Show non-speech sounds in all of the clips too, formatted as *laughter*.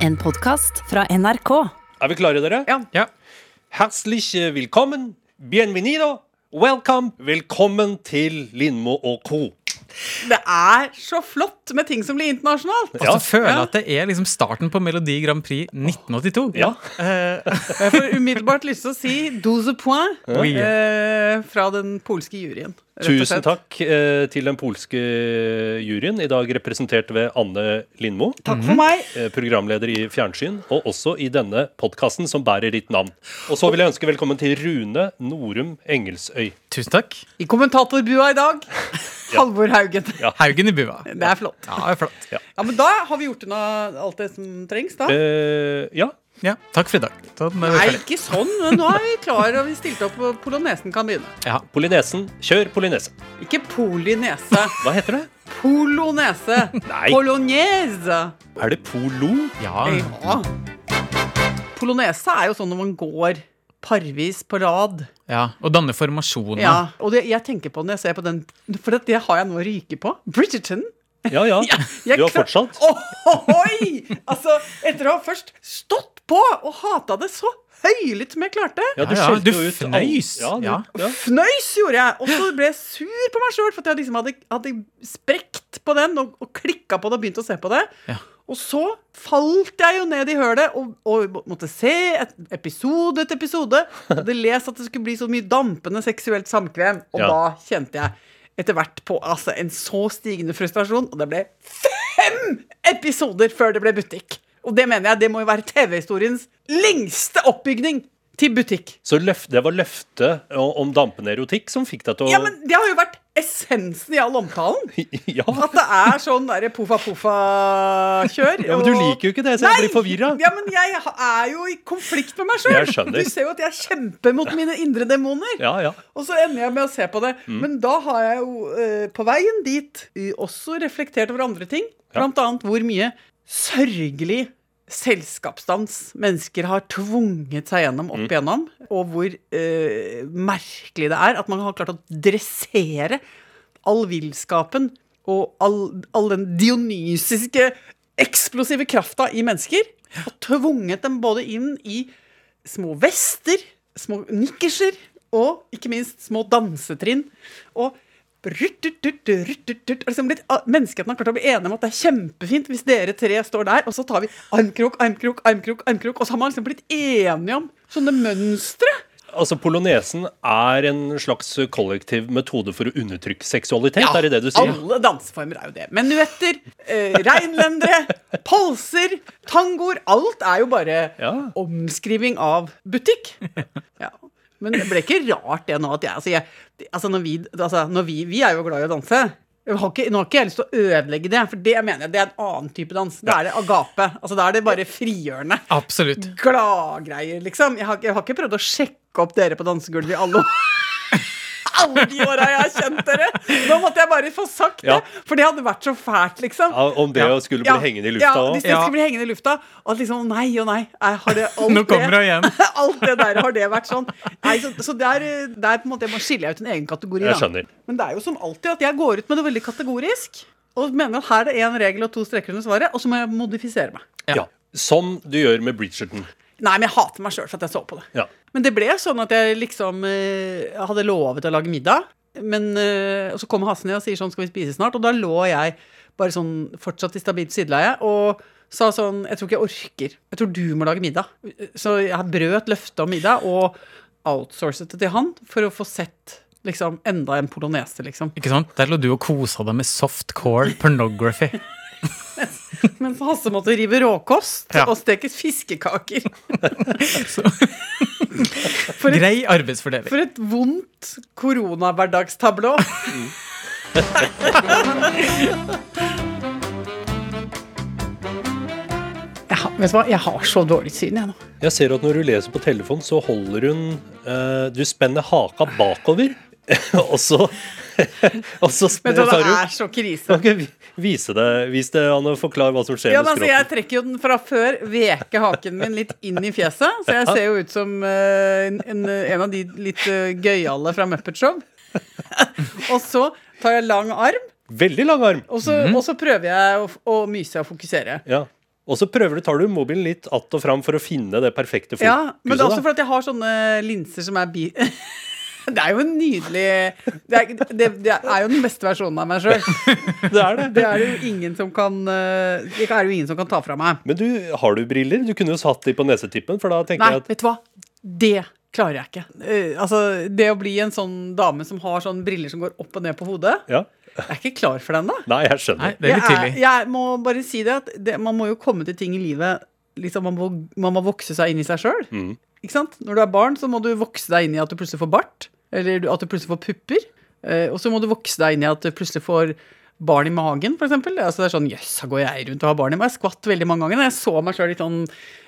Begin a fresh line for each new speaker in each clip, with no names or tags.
En podkast fra NRK.
Er vi klare, dere?
Ja.
Ja.
Herzlich willkommen, bienvenido, welcome, velkommen til Lindmo og co.
Det er så flott med ting som blir internasjonalt.
Og så
Ja.
føler
Ja.
jeg at det er liksom starten på Melodi Grand Prix 1982.
Ja.
Jeg får umiddelbart lyst til å si 12 point
Oui.
eh, fra den polske juryen. rett og
Tusen
slett.
takk eh, til den polske juryen, i dag representert ved Anne Lindmo.
Takk for meg.
eh, Programleder i fjernsyn, og også i denne podkasten som bærer ditt navn. Og så vil jeg ønske velkommen til Rune Norum Engelsøy.
Tusen takk.
I kommentatorbua
*laughs*
i dag, Halvor Haugen.
Haugen i bua.
Det er flott.
Ja, det er flott.
Ja.
Ja, men da har vi gjort unna alt det som trengs, da.
Eh, ja.
Ja, takk for i dag. Sånn, nå er vi
Nei,
ferdig.
ikke sånn. men Nå er vi klare, og vi stilte opp, og polonesen kan begynne.
Ja.
Polynesen. Kjør polynese.
Ikke polynese.
Hva heter det?
Polonese.
Nei. Ah.
Polognese.
Er det polo?
ja.
Ja. Polonese er jo sånn når man går parvis på rad.
ja. Og danne formasjoner.
Ja, og det, jeg tenker på når jeg ser på den, for det, det har jeg noe å ryke på. Bridgerton.
Ja ja.
Jeg
Du har
kla-
fortsatt.
Ohoi! Altså, etter å ha først stått på og hata det så høylytt som jeg klarte.
Ja, du
Ja, ja,
skjelte
du
jo ut
fnøys.
alt. Ja,
Ja.
du, ja.
Fnøys gjorde jeg, og så ble jeg sur på meg sjøl for at jeg liksom hadde, hadde sprekt på den og, og klikka på det og begynt å se på det.
Ja.
Og så falt jeg jo ned i hølet og, og måtte se et episode etter episode. Og hadde lest at det skulle bli så mye dampende seksuelt samkvem, og
Ja.
da kjente jeg etter hvert på altså, en så stigende frustrasjon, og det ble fem episoder før det ble butikk. Og det mener jeg, det må jo være TV-historiens lengste oppbygning til butikk.
Så løf, det var løftet o- om dampende erotikk som fikk deg til å
Ja, men det har jo vært essensen i all omtalen.
*laughs* Ja,
At det er sånn derre poffa-poffa-kjør.
Ja, men du liker jo ikke det, så jeg blir forvirra.
Ja, men jeg ha- er jo i konflikt med meg sjøl.
Jeg skjønner.
Du ser jo at jeg kjemper mot mine indre demoner.
Ja, ja.
Og så ender jeg med å se på det. Men da har jeg jo eh, på veien dit eh, også reflektert over andre ting.
Ja.
Blant annet hvor mye sørgelig selskapsdans mennesker har tvunget seg gjennom opp igjennom. Og hvor eh, merkelig det er at man har klart å dressere all villskapen og all, all den dionysiske, eksplosive krafta i mennesker. Og tvunget dem både inn i små vester, små nikkerser og ikke minst små dansetrinn. Og rutt-rutt-rutt-rutt-rutt liksom blitt- ah, Menneskeheten har klart å bli enige om at det er kjempefint hvis dere tre står der, og så tar vi armkrok, armkrok, armkrok, armkrok. Og så har man liksom blitt enige om sånne mønstre.
Altså, Polonesen er en slags kollektiv metode for å undertrykke seksualitet, er det det du sier?
Alle danseformer er jo det. Menuetter, eh, reinlendere, polser, tangoer. Alt er jo bare
Ja.
omskriving av butikk. Ja. Men det ble ikke rart det nå at jeg Altså, jeg, altså når vi altså når vi, vi er jo glad i å danse. Jeg har ikke, nå har ikke jeg lyst til å ødelegge det, for det mener jeg, det er en annen type dans. Da er det agape. Altså, da er det bare frigjørende.
Absolutt.
Gladgreier, liksom. Jeg har, ikke- jeg har ikke prøvd å sjekke opp dere på dansegulvet i alle *laughs* alle de åra jeg har kjent dere! Nå måtte jeg bare få sagt
Ja.
det, for det hadde vært så fælt, liksom.
Ja, om det
Ja.
å skulle bli hengende i lufta
ja, hvis
òg?
det
Ja.
skulle bli hengende i lufta. Og at liksom, å nei, å nei. nei, Har
*laughs*
det alt
Nå kommer
det,
hun
*laughs* alt det der har det vært sånn. Nei, så, så der, eh, der på en måte jeg må skille jeg ut en egen kategori.
Jeg
da.
skjønner.
Men det er jo som alltid at jeg går ut med det veldig kategorisk. Og mener at her er én regel og to streker under svaret, og så må jeg modifisere meg.
Ja. Som du gjør med Bridgerton.
Nei, men jeg hater meg sjøl for at jeg så på det.
Ja.
Men det ble sånn at jeg liksom eh, hadde lovet å lage middag. Men, eh, og så kom Hasne og sier sånn, skal vi spise snart? Og da lå jeg bare sånn fortsatt i stabilt sideleie og sa sånn, jeg tror ikke jeg orker. Jeg tror du må lage middag. Så jeg brøt løftet om middag og outsourcet det til han for å få sett liksom enda en polonese, liksom.
Ikke sant? Der lå du og kosa deg med softcore pornography.
Mens Hasse måtte rive råkost
Ja.
og steke fiskekaker. For et
Grei arbeidsfordeling.
For et vondt koronahverdagstableau. Mm. *laughs* Jeg har, vet du hva? Jeg har så dårlig syn, jeg nå.
Jeg ser at når du leser på telefon, så holder hun eh, Du spenner haka bakover, *laughs* og så *laughs* Og så
Vet du hva,
tar
det
du
er så krise.
Kan ikke vi- vise det, vis det, Anne. Forklar hva som skjer
Ja,
med
men altså, Jeg
skrotten.
trekker jo den fra før, veker haken min litt inn i fjeset. Så jeg ser jo ut som eh, en, en, en av de litt eh, gøyale fra Muppet Show. *laughs* Og så tar jeg lang arm,
Veldig lang arm.
Mhm. og så, og så prøver jeg å, å myse og fokusere.
Ja. Og så prøver du, tar du mobilen litt att og fram for å finne det perfekte fokuset.
Ja, men det er også
da.
fordi at jeg har sånne linser som er bi... *laughs* Det er jo en nydelig Det er, det, det er jo den beste versjonen av meg sjøl.
*laughs* det er det.
Det er det jo ingen som kan eh, Det er jo ingen som kan ta fra meg.
Men du, har du briller? Du kunne jo satt de på nesetippen, for da tenker
Nei,
jeg at
vet du hva? Det klarer jeg ikke. Eh, altså, det å bli en sånn dame som har sånne briller som går opp og ned på hodet,
ja.
jeg er ikke klar for det ennå.
Nei, jeg skjønner.
Nei, det er litt
Jeg, er-
tidlig.
jeg må bare si det at det, man må jo komme til ting i livet liksom, man, må, man må vokse seg inn i seg sjøl.
Mm.
Ikke sant? Når du er barn, så må du vokse deg inn i at du plutselig får bart. Eller du- at du plutselig får pupper. Eh, og så må du vokse deg inn i at du plutselig får barn i magen, f.eks. Altså, det er sånn Jøss, her går jeg rundt og har barn i meg. Jeg skvatt veldig mange ganger. Jeg så meg sjøl litt sånn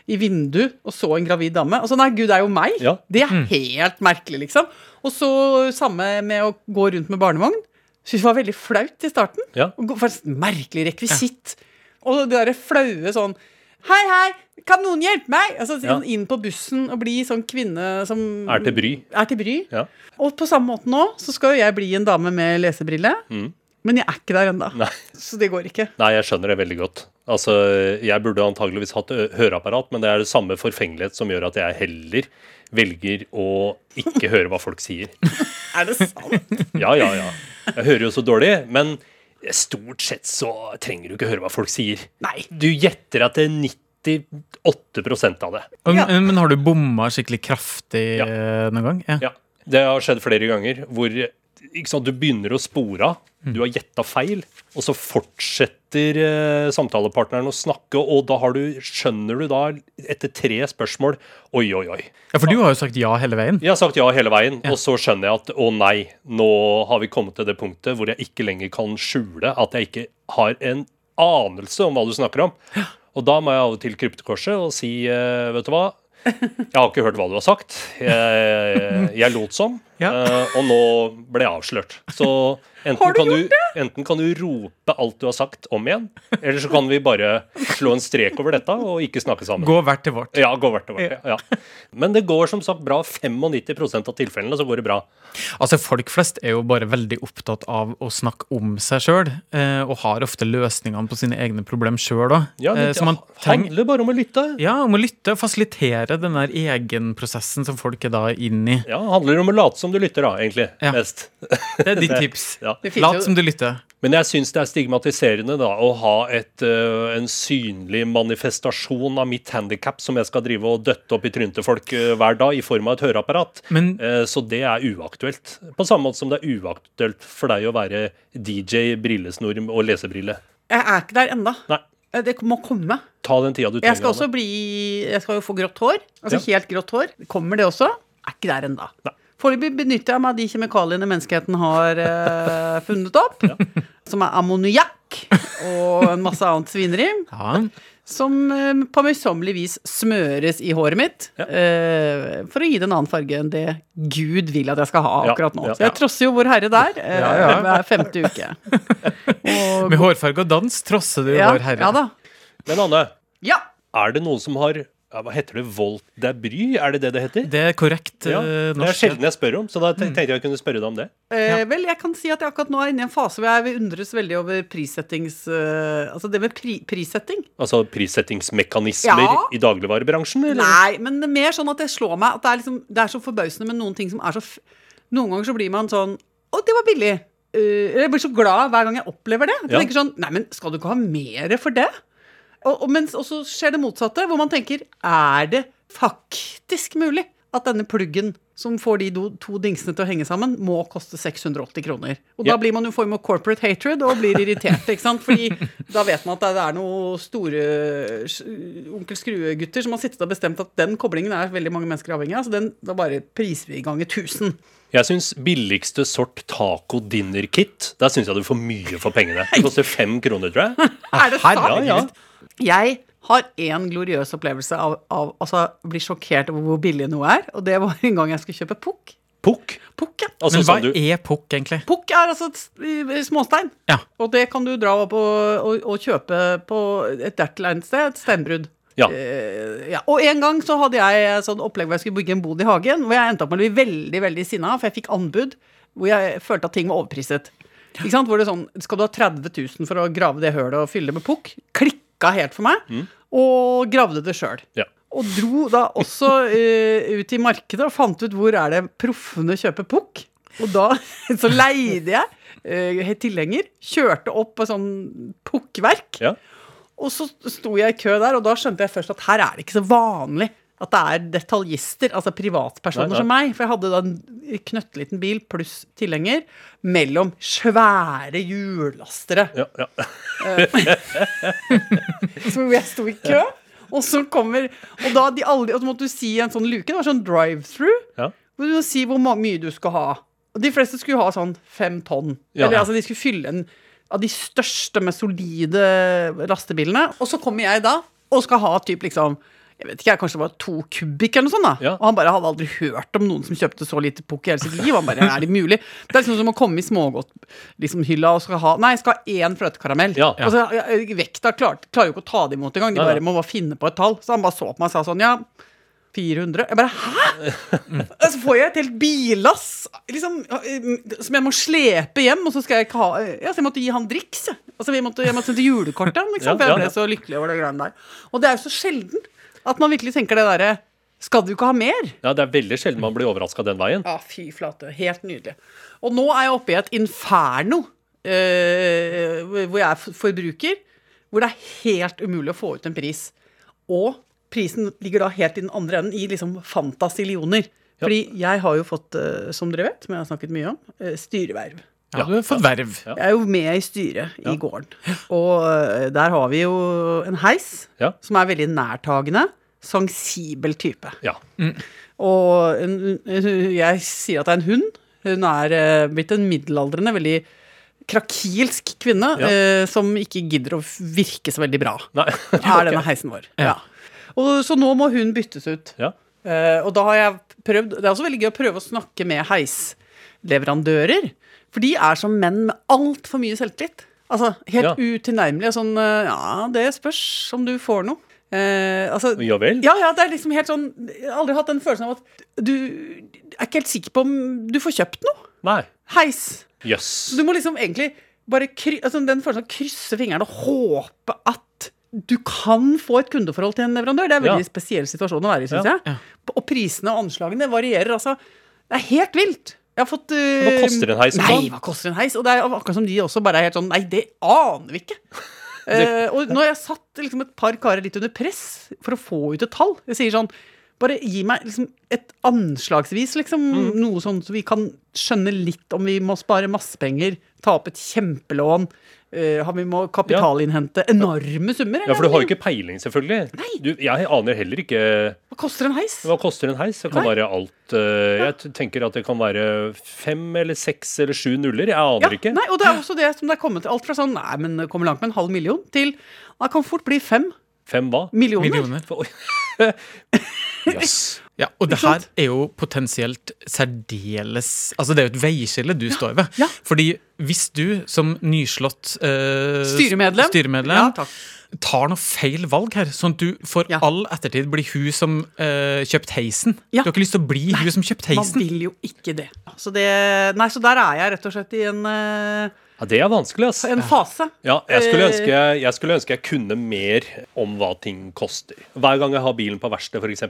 i vinduet og så en gravid dame. Og så nei, gud, det er jo meg.
Ja.
Det er helt merkelig, liksom. Og så samme med å gå rundt med barnevogn. Syns det var veldig flaut i starten.
Ja.
Og gå- Faktisk merkelig rekvisitt. Og det derre flaue sånn Hei, hei, kan noen hjelpe meg? Altså
Ja.
sånn Inn på bussen og bli sånn kvinne som
Er til bry.
er til bry.
Ja.
Og på samme måte nå så skal jo jeg bli en dame med lesebrille.
Mm.
Men jeg er ikke der ennå,
Nei.
så det går ikke.
Nei, jeg skjønner det veldig godt. Altså, Jeg burde antageligvis hatt ø- høreapparat, men det er det samme forfengelighet som gjør at jeg heller velger å ikke høre hva folk sier.
*laughs* Er det sant?
Ja, ja, ja. Jeg hører jo så dårlig, men stort sett så trenger du ikke høre hva folk sier.
Nei.
Du gjetter at det er 98 av det.
Men,
Ja.
men har du bomma skikkelig kraftig
Ja.
eh, noen gang? Ja.
Ja. Det har skjedd flere ganger hvor ikke sant, du begynner å spore av. Du har gjetta feil, og så fortsetter eh, samtalepartneren å snakke, og da har du, skjønner du da, etter tre spørsmål Oi, oi, oi.
ja, for du har jo sagt ja hele veien.
Jeg har sagt ja hele veien, og så skjønner jeg at å nei, nå har vi kommet til det punktet hvor jeg ikke lenger kan skjule at jeg ikke har en anelse om hva du snakker om. Og da må jeg av og til krype til korset og si eh, vet du hva, jeg har ikke hørt hva du har sagt. Jeg, jeg lot som,
Ja.
eh, og nå ble jeg avslørt. Så enten
Har du
kan du, enten kan du rope alt du har sagt om igjen, eller så kan vi bare slå en strek over dette og ikke snakke sammen.
Gå hvert til vårt.
Ja, går hvert og hvert. Ja. Men det går som sagt bra. 95 av tilfellene så går det bra.
Altså, Folk flest er jo bare veldig opptatt av å snakke om seg sjøl, og har ofte løsningene på sine egne problem sjøl òg.
Ja, det
Eh, så man trenger
handler bare om å lytte.
ja, om å lytte og fasilitere den der egenprosessen som folk er da inn i.
Ja, handler om å late som du lytter, da, egentlig.
Ja.
Mest. *laughs*
Det er ditt tips.
Ja.
Det finnes
Lat
jo-
som du lytter.
Men jeg syns det er stigmatiserende da, å ha et, ø, en synlig manifestasjon av mitt handikap som jeg skal drive og døtte opp i trynet til folk ø, hver dag i form av et høreapparat.
Men-
Eh, så det er uaktuelt. På samme måte som det er uaktuelt for deg å være DJ, brillesnor og lesebrille.
Jeg er ikke der ennå.
Nei,
Eh, Det må komme.
ta den tida du trenger.
Jeg skal
Anne.
også bli Jeg skal jo få grått hår. Altså helt grått hår. Kommer det også? Er ikke der ennå.
Nei.
Foreløpig benytter jeg meg av de kjemikaliene menneskeheten har eh, *laughs* funnet opp. Som er ammoniakk og en masse annet svineri.
Ja.
Som eh, på møysommelig vis smøres i håret mitt. eh, for å gi det en annen farge enn det Gud vil at jeg skal ha
Ja,
akkurat nå.
ja,
Så jeg
ja.
trosser jo Vår Herre der eh,
Ja, ja.
hver femte uke. Og,
Med hårfarge og dans trosser du
ja,
vår herre.
ja da.
Men Anne,
Ja!
Er det noen som har ja, Hva heter det? Volt de bry? Er det det det heter?
Det er korrekt
ja,
eh,
det er
norsk. Mm.
sjelden jeg spør om, så da ten- tenkte jeg jeg kunne spørre deg om det.
Eh,
Ja.
Vel, jeg kan si at jeg akkurat nå er inne i en fase hvor jeg undres veldig over prissettings... eh, altså det med pri prissetting.
Altså prissettingsmekanismer
Ja.
i dagligvarebransjen, eller?
Nei, men det er mer sånn at det slår meg at det er, liksom, det er så forbausende med noen ting som er så f Noen ganger så blir man sånn Å, det var billig. Eh, jeg blir så glad hver gang jeg opplever det. Jeg
Ja.
tenker sånn Nei, men skal du ikke ha mer for det? Og, og, mens, og så skjer det motsatte, hvor man tenker Er det faktisk mulig at denne pluggen som får de do, to dingsene til å henge sammen, må koste 680 kroner? Og
Ja.
da blir man jo form av corporate hatred og blir irritert, ikke sant? Fordi da vet man at det er noen store s- onkel Skrue-gutter som har sittet og bestemt at den koblingen er veldig mange mennesker avhengig av, så den, da bare priser vi i gang i 1000.
Jeg syns billigste sort taco dinner kit, der syns jeg du får mye for pengene. Det koster fem kroner, tror jeg.
Er det sant?
Ja, ja.
Jeg har én gloriøs opplevelse av, av altså, bli sjokkert over hvor billig noe er. Og det var en gang jeg skulle kjøpe pukk.
Pukk.
Pukk, ja.
Altså,
Men hva
sånn du,
er pukk, egentlig?
Pukk er altså et s- i- småstein.
Ja.
Og det kan du dra opp og, og, og kjøpe på et dertil egnet sted, et steinbrudd.
ja.
Eh, ja. Og en gang så hadde jeg sånn opplegg hvor jeg skulle bygge en bod i hagen, hvor jeg endte opp med å bli veldig veldig sinna, for jeg fikk anbud hvor jeg følte at ting var overpriset. Ikke sant? Hvor det er sånn, Skal du ha 30 000 for å grave det hølet og fylle det med pukk? Klikka klikka helt for meg, og gravde det sjøl.
Ja.
Og dro da også eh, ut i markedet og fant ut hvor er det proffene kjøper pukk. Og da *laughs* så leide jeg eh, tilhenger, kjørte opp på sånn pukkverk.
Ja.
Og så sto jeg i kø der, og da skjønte jeg først at her er det ikke så vanlig at det er detaljister, altså privatpersoner
Nei, nei.
som meg. For jeg hadde da en knøttliten bil pluss tilhenger mellom svære hjulllastere. *laughs*
Ja, ja.
Så jeg sto i kø, og så kommer Og da de aldri, og så måtte du si en sånn luke. Det var sånn drive-through.
Ja.
Hvor du må si hvor ma- mye du skal ha. Og de fleste skulle ha sånn fem tonn.
Ja.
Eller altså, de skulle fylle en av de største med solide lastebilene. Og så kommer jeg da og skal ha typ liksom jeg vet ikke, jeg, kanskje det var to kubikk eller noe sånt. da
Ja.
Og han bare hadde aldri hørt om noen som kjøpte så lite pukk i hele sitt liv. Han bare, er det mulig? Det er liksom som å komme i smågodthylla liksom, hylla og skal ha Nei, jeg skal ha én fløtekaramell.
Ja, ja.
Og så, ja, ja, vekta klart, klarer jo ikke å ta det imot engang. De
Nei, nei.
bare må bare finne på et tall. Så han bare så på meg og sa sånn, ja 400. Jeg bare hæ?! Og Så får jeg et helt billass liksom, eh, som jeg må slepe hjem, og så skal jeg ikke ha Ja, så jeg måtte gi han driks, jeg. Altså, vi måtte, jeg måtte sende julekortet han, ikke sant?
Ja,
For
ja,
jeg ble
ja.
så lykkelig over det greiene der. Og det er jo så sjelden at man virkelig tenker det derre Skal du ikke ha mer?
ja, det er veldig sjelden man blir overraska den veien.
Ja, fy flate. Helt nydelig. Og nå er jeg oppe i et inferno eh, hvor jeg er f- forbruker, hvor det er helt umulig å få ut en pris. Og prisen ligger da helt i den andre enden, i liksom fantasillioner. Fordi jeg har jo fått, eh, som dere vet, som jeg har snakket mye om, eh, styreverv.
Ja, du har fått verv.
Ja.
Jeg er jo med i styret i gården. Og eh, der har vi jo en heis
Ja.
som er veldig nærtagende, sensibel type.
Ja.
Og en, jeg sier at det er en hund. Hun er eh, blitt en middelaldrende, veldig krakilsk kvinne
Ja.
eh, som ikke gidder å f- virke så veldig bra.
Nei. *laughs*
Er denne heisen vår. Ja. Og, så nå må hun byttes ut.
Ja.
Eh, og da har jeg prøvd Det er også veldig gøy å prøve å snakke med heisleverandører. For de er som menn med altfor mye selvtillit. Altså helt
Ja.
utilnærmelig. Sånn eh, Ja, det spørs om du får noe. Eh, altså,
Ja vel.
ja, ja, det er liksom helt sånn Jeg har aldri hatt den følelsen av at du er ikke helt sikker på om du får kjøpt noe.
Nei.
Heis.
Jøss.
Så du må liksom egentlig bare kry, altså den følelsen av å krysse fingrene og håpe at du kan få et kundeforhold til en leverandør. Det er en
Ja.
veldig spesiell situasjon å være i, syns
Ja,
jeg. Og prisene og anslagene varierer, altså. Det er helt vilt. Jeg har fått eh,
Hva koster en heis om
Nei,
dagen?
hva koster en heis? Og det er akkurat som de også bare er helt sånn Nei, det aner vi ikke. Eh, og når jeg satt liksom et par karer litt under press for å få ut et tall Jeg sier sånn Bare gi meg liksom et anslagsvis, liksom.
Mm.
Noe sånn så vi kan skjønne litt om vi må spare masse penger, ta opp et kjempelån, eh, har vi må kapitalinnhente enorme summer.
Ja, for du har jo ikke peiling, selvfølgelig.
Nei.
Du, jeg aner heller ikke
Hva koster en heis?
Hva koster en heis? Det kan være alt. eh, Jeg t- tenker at det kan være fem eller seks eller sju nuller. Jeg aner ikke.
Nei, og det er også det som det er kommet til. Alt fra sånn Nei, men det kommer langt med en halv million, til Det kan fort bli fem
Fem hva?
millioner.
Millioner.
For- Jøss.
Ja, og det
Ikke
her
sant?
er jo potensielt særdeles Altså, det er jo et veiskille du står ved.
ja.
Fordi hvis du som nyslått eh,
Styremedlem.
styremedlem
Ja, takk.
tar noe feil valg her, sånn at du for
Ja.
all ettertid blir hun som eh, kjøpte heisen
Ja.
Du har ikke lyst til å bli hun som kjøpte
Man
heisen.
vil jo ikke det. Så, det nei, så der er jeg rett og slett i en, eh,
Ja, det er vanskelig, ass.
en fase.
Ja, jeg skulle,
Eh.
ønske, jeg skulle ønske jeg kunne mer om hva ting koster. Hver gang jeg har bilen på verksted, f.eks.,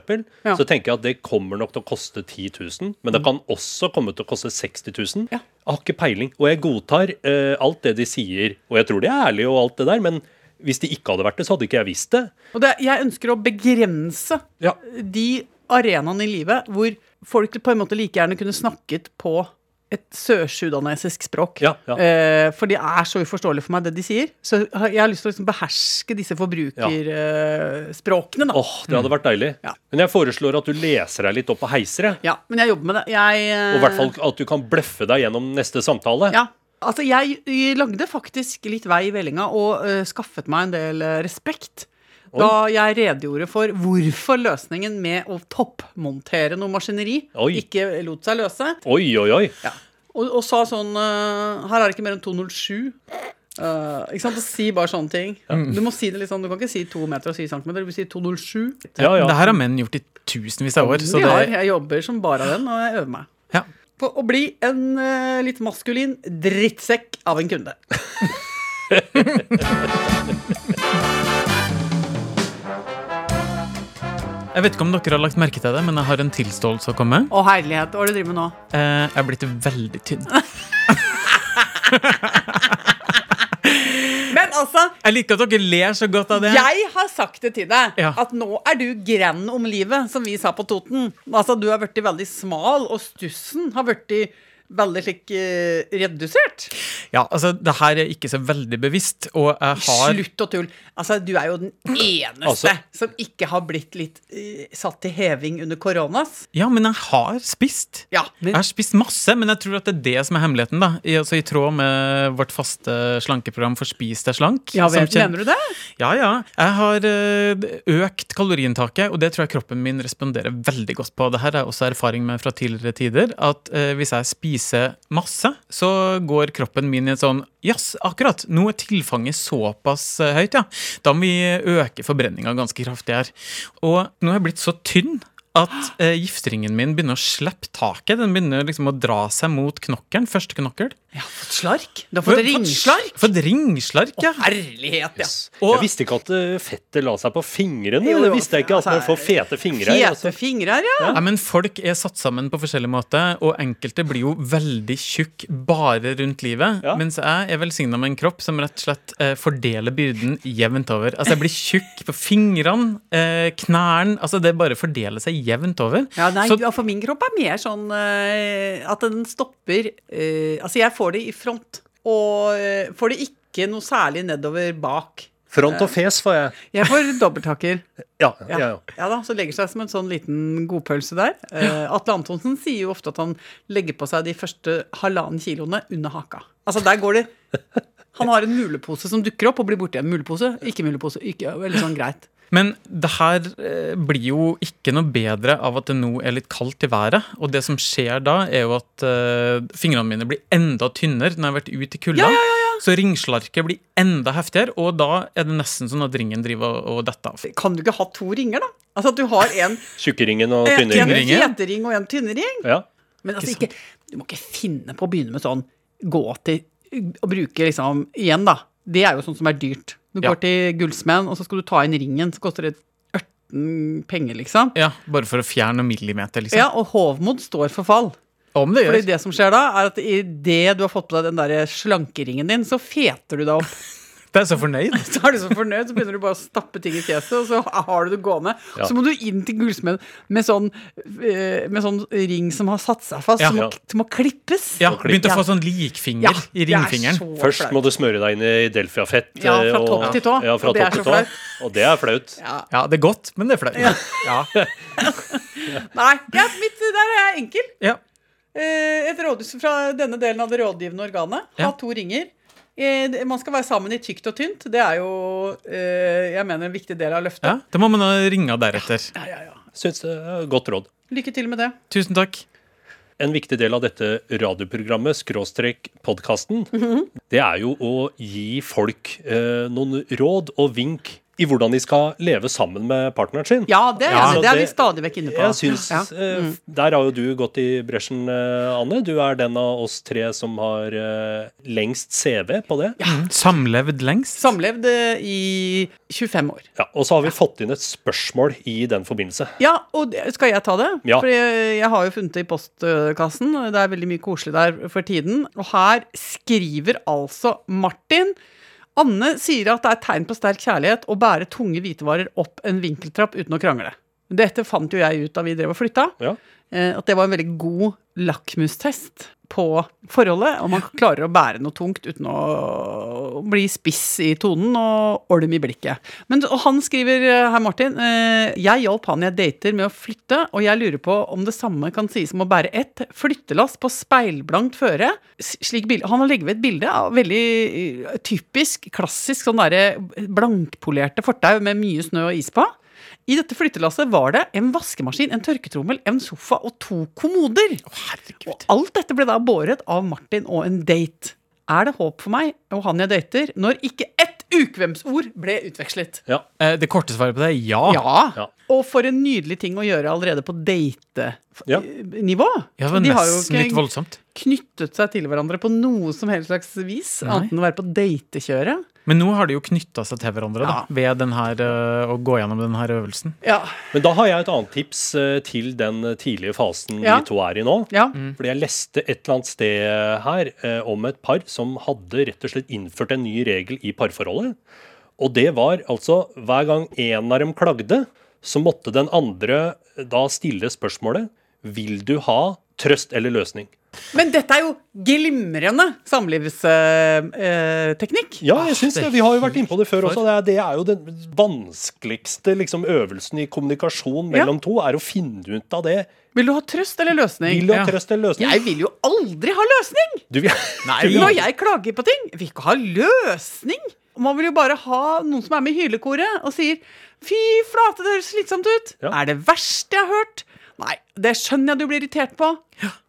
Ja. Mm.
så tenker jeg at det kommer nok til å koste 10 000, men det kan også komme til å koste 60 000.
Ja.
Jeg har ikke peiling. Og jeg godtar eh, alt det de sier, og jeg tror de er ærlige og alt det der, men hvis de ikke hadde vært det, så hadde ikke jeg visst det.
Og det, jeg ønsker å begrense
Ja.
de arenaene i livet hvor folk på en måte like gjerne kunne snakket på et sørsudanesisk språk.
Ja, ja.
Eh, for det er så uforståelig for meg, det de sier. Så har- jeg har lyst til å liksom beherske disse forbrukerspråkene, da.
Åh, det hadde vært deilig.
Mm. Ja.
Men jeg foreslår at du leser deg litt opp på heiser, jeg.
Ja, men jeg jobber med det. Jeg, eh,
Og i hvert fall at du kan bløffe deg gjennom neste samtale.
Ja. Altså, jeg jeg lagde faktisk litt vei i vellinga og eh, skaffet meg en del eh, respekt. Da jeg redegjorde for hvorfor løsningen med å toppmontere noe maskineri
Oi.
ikke lot seg løse,
Oi, oi, oi.
og, og sa sånn eh, Her er det ikke mer enn 207. Eh, ikke sant? Og si bare sånne ting. Du må si det litt sånn, du kan ikke si to meter og si centimeter. Du vil si 207.
Ja, ja.
Det her har menn gjort i tusenvis av år. Så
Vi har,
det,
jeg jobber som bare av den, og jeg øver meg.
ja.
På å bli en eh, litt maskulin drittsekk av en kunde.
Jeg vet ikke om dere har lagt merke til det, men jeg har en tilståelse å komme med.
Å, herlighet. Hva er det du driver med nå?
Eh, Jeg er blitt veldig tynn.
*laughs* Men altså,
Jeg liker at dere ler så godt av det.
jeg har sagt det til deg,
Ja.
at nå er du grann om livet, som vi sa på Toten. Altså, du har blitt veldig smal, og stussen har blitt veldig slik eh, redusert.
Ja, altså, det her er ikke så veldig bevisst, og jeg har
Slutt å tulle. Altså, du er jo *clears throat* den eneste
Altså-
som ikke har blitt litt eh, satt til heving under koronas.
Ja, men jeg har spist.
Ja, men-
Jeg har spist masse, men jeg tror at det er det som er hemmeligheten. da I, altså, i tråd med vårt faste slankeprogram For spis deg slank.
Ja,
som
vet,
kjen-
mener du det?
Ja, ja. Jeg har eh, økt kaloriinntaket, og det tror jeg kroppen min responderer veldig godt på. Det her er også erfaring med fra tidligere tider, at eh, hvis jeg spiser masse, så går kroppen min i en sånn Jazz, akkurat! Nå er tilfanget såpass eh, høyt, ja. Da må vi øke forbrenninga ganske kraftig her. Og nå er jeg blitt så tynn at eh, giftringen min begynner å slippe taket. Den begynner liksom å dra seg mot knokkelen. Første knokkel.
Fått slark? Du har fått ringslark?
Fått ringslark, ja.
Herlighet, ja.
Og-
Jeg visste ikke at eh, fettet la seg på fingrene.
Jo, jo,
det visste jeg ikke at
altså,
man får fete fingre.
Fete
Altså.
fingre, ja.
Nei, men Folk er satt sammen på forskjellig måte, og enkelte blir jo veldig tjukk bare rundt livet.
Ja.
Mens jeg er velsigna med en kropp som rett og slett eh, fordeler byrden jevnt over. Altså Jeg blir tjukk på fingrene, eh, knærne altså Det bare fordeler seg jevnt over.
Ja, nei,
Så-
ja, for min kropp er mer sånn eh, at den stopper eh, Altså, jeg får det i front, og eh, får det ikke noe særlig nedover bak.
Front og fes får jeg.
Jeg får dobbelttaker.
Ja, ja, ja.
*laughs* Ja da, så legger seg som en sånn liten godpølse der. Eh, Atle Antonsen sier jo ofte at han legger på seg de første halvannen kiloene under haka. Altså, der går det Han har en mulepose som dukker opp og blir borti en mulepose. Ikke mulepose. Ikke, eller sånn greit.
Men det her eh, blir jo ikke noe bedre av at det nå er litt kaldt i været. Og det som skjer da, er jo at eh, fingrene mine blir enda tynnere når jeg har vært ute i kulda. Så ringslarket blir enda heftigere, og da er det nesten sånn at ringen driver og, og detter av.
Kan du ikke ha to ringer, da? Altså at du har en,
Tjukkeringen og
en
tynneringen.
fetering og en tynnering.
Ja.
Men altså, ikke, du må ikke finne på å begynne med sånn gå til og bruke liksom igjen, da. Det er jo sånn som er dyrt. Du
Ja.
går til gullsmeden, og så skal du ta inn ringen. Så koster det 18 penger, liksom.
Ja, Bare for å fjerne noen millimeter, liksom.
Ja, og hovmod står for fall.
Om det gjør.
Fordi det som skjer da, er at idet du har fått på deg den der slankeringen din, så feter du
*laughs*
deg opp.
Det er så fornøyd.
Så er du så fornøyd, så begynner du bare å stappe ting i fjeset, og så har du det gående.
Ja.
Så må du inn til gullsmeden med sånn, eh, med sånn ring som har satt seg fast,
Ja.
som,
Ja.
må, som må klippes.
Ja, Begynte å
Ja.
få sånn likfinger i ringfingeren.
Først må du smøre deg inn i Delfia-fett.
Ja, fra
eh,
topp til tå.
Ja, fra
Og det er
topp til
så
tå.
flaut.
Og det er flaut.
ja.
Ja, det er godt, men det er flaut. Ja.
Nei, ja, mitt, der er jeg enkel.
Ja.
Eh, Et rådhus fra denne delen av det rådgivende organet. Ha
Ja.
to ringer. Eh, det- Man skal være sammen i tykt og tynt. Det er jo eh, jeg mener, en viktig del av løftet.
ja. Da må man ha ringer deretter.
Ja, ja, ja.
Syns det er godt råd.
Lykke til med det.
Tusen takk.
En viktig del av dette radioprogrammet, skråstrek podkasten,
Mhm.
det er jo å gi folk eh, noen råd og vink i hvordan de skal leve sammen med partneren sin.
Ja, det er,
Ja,
jeg enig i. det er vi
det-
stadig vekk inne på.
Jeg synes,
Ja.
eh, f- Der har jo du gått i bresjen, eh, Anne. Du er den av oss tre som har eh, lengst CV på det.
Mm, Samlevd lengst.
Samlevd eh, i 25 år.
Ja, og så har vi fått inn et spørsmål i den forbindelse.
Ja, og det- skal jeg ta det?
Ja.
For jeg, jeg har jo funnet det i postkassen. Det er veldig mye koselig der for tiden. Og her skriver altså Martin Anne sier at det er tegn på sterk kjærlighet å bære tunge hvitevarer opp en vinkeltrapp uten å krangle. Dette fant jo jeg ut da vi drev og flytta,
Ja.
eh, at det var en veldig god lakmustest på forholdet. Om man klarer å bære noe tungt uten å bli spiss i tonen og olm i blikket. Men og han skriver eh, her, Martin, eh, jeg hjalp han jeg dater med å flytte, og jeg lurer på om det samme kan sies om å bære ett flyttelass på speilblankt føre. S- Slik bil- han har legget ved et bilde av veldig eh, typisk, klassisk sånn derre blankpolerte fortau med mye snø og is på. I dette flyttelasset var det en vaskemaskin, en tørketrommel, en sofa og to kommoder. Og alt dette ble da båret av Martin og en date. Er det håp for meg og han jeg dater, når ikke ett ukvemsord ble utvekslet?
Ja.
Eh, Det korte svaret på det er Ah, ja.
Ja.
Ja.
Og for en nydelig ting å gjøre allerede på
Ja.
date-nivå.
Ja, det var
De har jo
nesten litt
ikke
voldsomt.
knyttet seg til hverandre på noe som helst slags vis,
Nei.
annet enn å være på datekjøret.
Men nå har de jo knytta seg til hverandre da,
Ja.
ved den her, eh, å gå gjennom denne øvelsen.
Ja.
Men da har jeg et annet tips eh, til den tidlige fasen
Ja.
vi to er i nå.
ja.
Mm.
Fordi jeg leste et eller annet sted her eh, om et par som hadde rett og slett innført en ny regel i parforholdet. Og det var altså hver gang en av dem klagde, så måtte den andre eh, da stille spørsmålet Vil du ha trøst eller løsning?
Men dette er jo glimrende samlivsteknikk.
Ja, jeg syns
det er
Ah, det. Vi har jo vært inne på det før
helt
også. Det er, det er jo den vanskeligste liksom, øvelsen i kommunikasjon
Ja.
mellom to, er å finne ut av det.
Vil du ha trøst eller løsning?
Vil du ha
Ja.
trøst eller løsning?
Jeg vil jo aldri ha løsning!
Du, vil- *laughs*
Nei,
du vil-
Når jeg klager på ting, vil ikke ha løsning. Man vil jo bare ha noen som er med i hylekoret og sier 'fy flate, det høres slitsomt ut'.
Ja.
Er det verste jeg har hørt? Nei, det skjønner jeg du blir irritert på.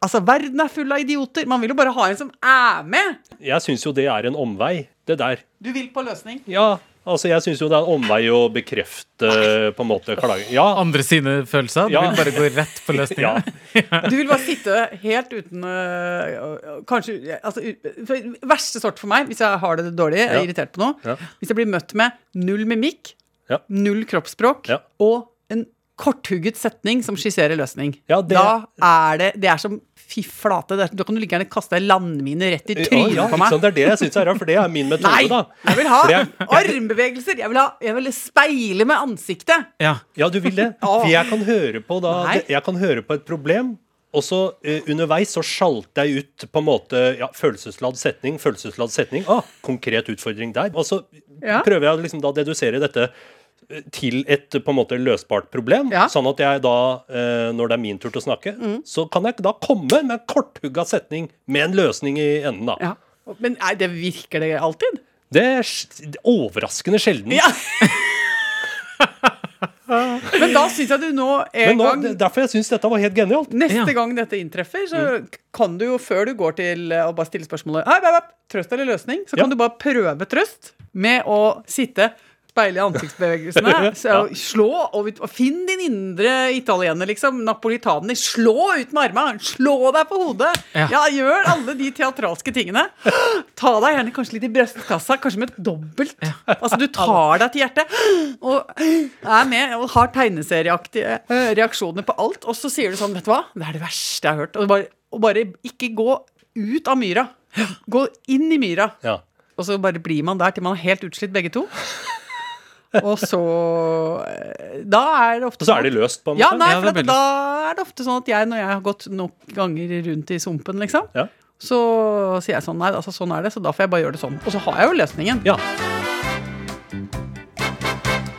Altså, Verden er full av idioter. Man vil jo bare ha en som er med.
jeg syns jo det er en omvei, det der.
Du vil på løsning.
Ja, altså jeg syns jo det er en omvei å bekrefte på en måte klager. Ja,
Andre sine følelser. Du
Ja.
vil bare gå rett på
ja.
løsninga.
*laughs* Du vil bare sitte helt uten øh, øh, Kanskje altså, u- for- Verste sort for meg, hvis jeg har det dårlig, jeg
Ja.
er irritert på noe,
Ja.
hvis jeg blir møtt med null mimikk,
Ja.
null kroppsspråk
Ja.
og en korthugget setning som skisserer løsning.
Ja, det-
Da er det Det er som Fy flate, det er, da kan du like gjerne kaste ei landmine rett i
Ja,
trynet
ja,
på
ikke
meg.
sant? Det er det jeg syns er rart, for det er min metode,
Nei!
da.
Jeg vil ha
For jeg-
armbevegelser! Jeg vil, ha, jeg vil speile med ansiktet.
Ja.
Ja, du
*laughs*
vil det. For jeg kan høre på, da,
Ah. Nei.
det- jeg kan høre på et problem, og så eh, underveis så sjalter jeg ut på en måte ja, følelsesladd setning, følelsesladd setning. Ah, konkret utfordring der. Og så
Ja.
prøver jeg liksom da å dedusere dette eh, til et på en måte løsbart problem,
Ja. Mm.
sånn at jeg da, eh, når det er min tur til å snakke, så kan jeg da komme med en korthugga setning med en løsning i enden, da.
Ja. Men nei, det virker det alltid?
Det er sj- det er overraskende sjelden.
Ja. Men da syns jeg du nå en
Men nå,
gang Mm.
det- derfor jeg syns dette var helt genialt.
Neste
Ja.
gang dette inntreffer, så kan du jo, før du går til eh, å bare stille spørsmålet Hei, hei, hei, trøst eller løsning, så
Ja.
kan du bare prøve trøst med å sitte speile i ansiktsbevegelsene. Så, Slå og, ut- og finn din indre italiener, liksom. Napolitaner. Slå ut med armene! Slå deg på hodet!
Ja.
Ja. gjør alle de teatralske tingene. Ta deg gjerne kanskje litt i brystkassa, kanskje med et dobbelt. Altså, du tar deg til hjertet og er med og har tegneserieaktige eh, reaksjoner på alt. Og så sier du sånn, vet du hva, det er det verste jeg har hørt. Og bare, og bare ikke gå ut av myra. Gå inn i myra.
Ja.
Og så bare blir man der til man er helt utslitt, begge to. Og så eh, Da er det ofte
Og så er det løst, på en måte.
Ja, nei,
Ja,
for
det er
at, da er det ofte sånn at jeg, når jeg har gått nok ganger rundt i sumpen, liksom,
Ja.
så sier jeg sånn Nei, altså sånn er det, så da får jeg bare gjøre det sånn. Og så har jeg jo løsningen.
Ja.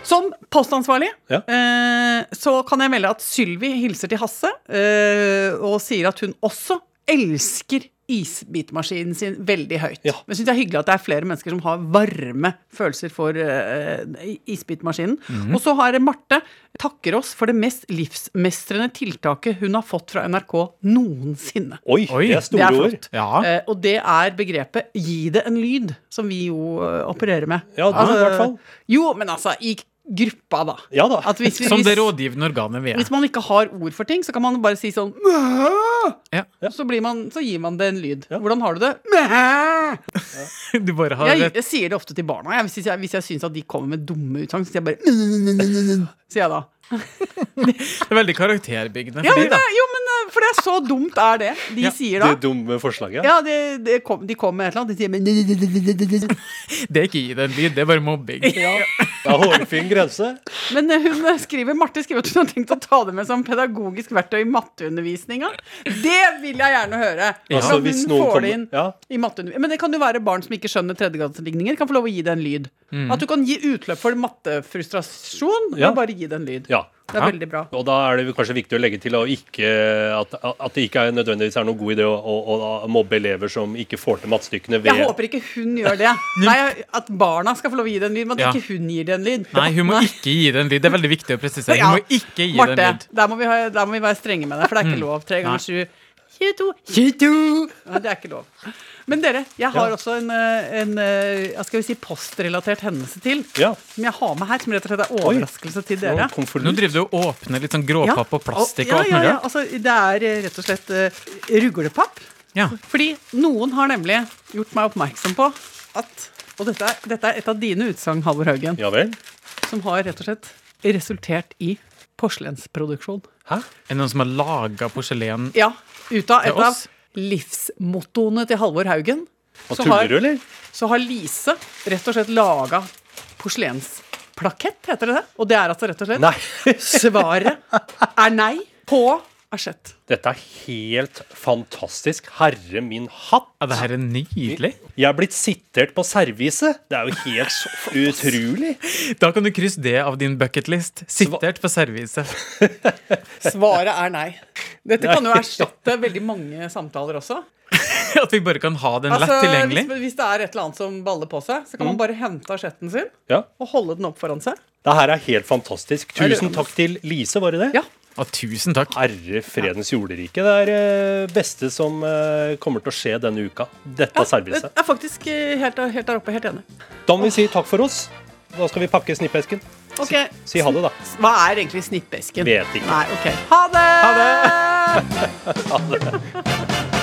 Som postansvarlig
Ja.
eh, så kan jeg melde at Sylvi hilser til Hasse eh, og sier at hun også elsker isbitmaskinen sin veldig høyt.
Ja.
Men synes det er hyggelig at det er flere mennesker som har varme følelser for eh, isbitmaskinen.
Mhm.
Og så har Marte takker oss for det mest livsmestrende tiltaket hun har fått fra NRK noensinne.
Oi,
Oi,
det er store
det er
ord.
flott.
Ja.
Eh, og det er begrepet 'gi det en lyd', som vi jo eh, opererer med. Altså,
Ja, du, i hvert fall.
Jo, men altså, i gruppa, da.
Ja da.
At hvis, vi-
Som det
hvis-
rådgivende organet vi er.
Hvis man ikke har ord for ting, så kan man bare si sånn «Mæ!»
Ja.
så, blir man, så gir man det en lyd.
Ja.
Hvordan har du det? «Mæ!»
*laughs* Du bare har
Jeg,
et
jeg sier det ofte til barna. Jeg, hvis jeg, hvis jeg syns at de kommer med dumme utsagn, så sier jeg
*laughs*
bare «Mæ!» Sier jeg da.
det er veldig karakterbyggende.
Ja,
for
men
de, da.
det, jo, men eh, for det er så dumt er det de sier da.
Det dumme forslaget.
Ja, det, det kom, De kommer med et eller annet. De sier «Mæ!»
Det er ikke gi det en lyd, det er bare mobbing.
Det er hårfin grense.
Men eh, hun skriver, Marte skriver at hun har tenkt å ta det med som pedagogisk verktøy i matteundervisninga. Det vil jeg gjerne høre!
Ja.
Hvordan
Altså, hvis
hun
noen
får det
kommer-
inn
ja.
i matteundervisning. Men det kan jo være barn som ikke skjønner tredjegradsligninger, kan få lov å gi det en lyd.
Mm.
At du kan gi utløp for mattefrustrasjon ved
Ja.
å bare gi det en lyd.
Ja.
Det er
Ja.
veldig bra.
Og da er det kanskje viktig å legge til å ikke, at, at det ikke er nødvendigvis er noen god idé å, å, å da mobbe elever som ikke får til mattestykkene ved
Jeg håper ikke hun gjør det. Nei, At barna skal få lov å gi det en lyd, men at
Ja.
ikke hun gir det en lyd.
Nei, hun må ikke gi det en lyd. Det er veldig viktig å presisere. Hun må ikke gi det
Marte,
en lyd. Mm.
der må, vi ha, der må vi være strenge med deg, for det er ikke lov. Tre ganger sju. 22. 22. Nei, det er ikke lov. Men dere, jeg har også en, eh, en eh, hva skal vi si, postrelatert hendelse til.
Ja.
Som jeg har med her, som rett og slett er overraskelse til dere.
Noen konvolutt.
Nå driver du og åpner litt sånn gråpapp og plastikk og alt
ja,
mulig.
ja, ja. Altså, det er eh, rett og slett eh, ruglepapp.
Ja.
Fordi noen har nemlig gjort meg oppmerksom på at Og dette er, dette er et av dine utsagn, Halvor Haugen,
Ja vel?
som har rett og slett resultert i porselensproduksjon.
Hæ?
Er det noen som har laga porselen
Ja, ut av et
Til
av
oss?
livsmottoene til Halvor Haugen,
Hva
Så
tuller
har-
du, eller?
så har Lise rett og slett laga porselensplakett, heter det det? Og det er altså rett og slett
Nei.
Svaret er nei på asjett.
*laughs* Dette er helt fantastisk. Herre min hatt.
Ja, det her er nydelig.
Jeg er blitt sitert på serviset. Det er jo helt så utrolig.
Da kan du krysse det av din bucketlist. Sitert på *laughs* serviset.
Svaret er nei. Dette kan jo erstatte veldig mange samtaler også.
At vi bare kan ha den lett
Altså,
tilgjengelig.
Hvis, hvis det er et eller annet som baller på seg, så kan man bare hente asjetten sin
Mm. Ja,
og holde den opp foran seg.
Det her er helt fantastisk.
er det-
Tusen takk til Lise, var det det?
Ja.
Å, tusen takk.
Herre fredens jorderike. Det er det beste som eh, kommer til å skje denne uka. Dette er
Det
serviset.
er faktisk eh, helt, der- helt der oppe. Helt enig.
Da må vi si takk for oss. Da skal vi pakke snippesken.
Ok,
Si ha det, da.
Hva er egentlig snippesken?
Vet ikke.
Nei, ok. Ha det! Ha det!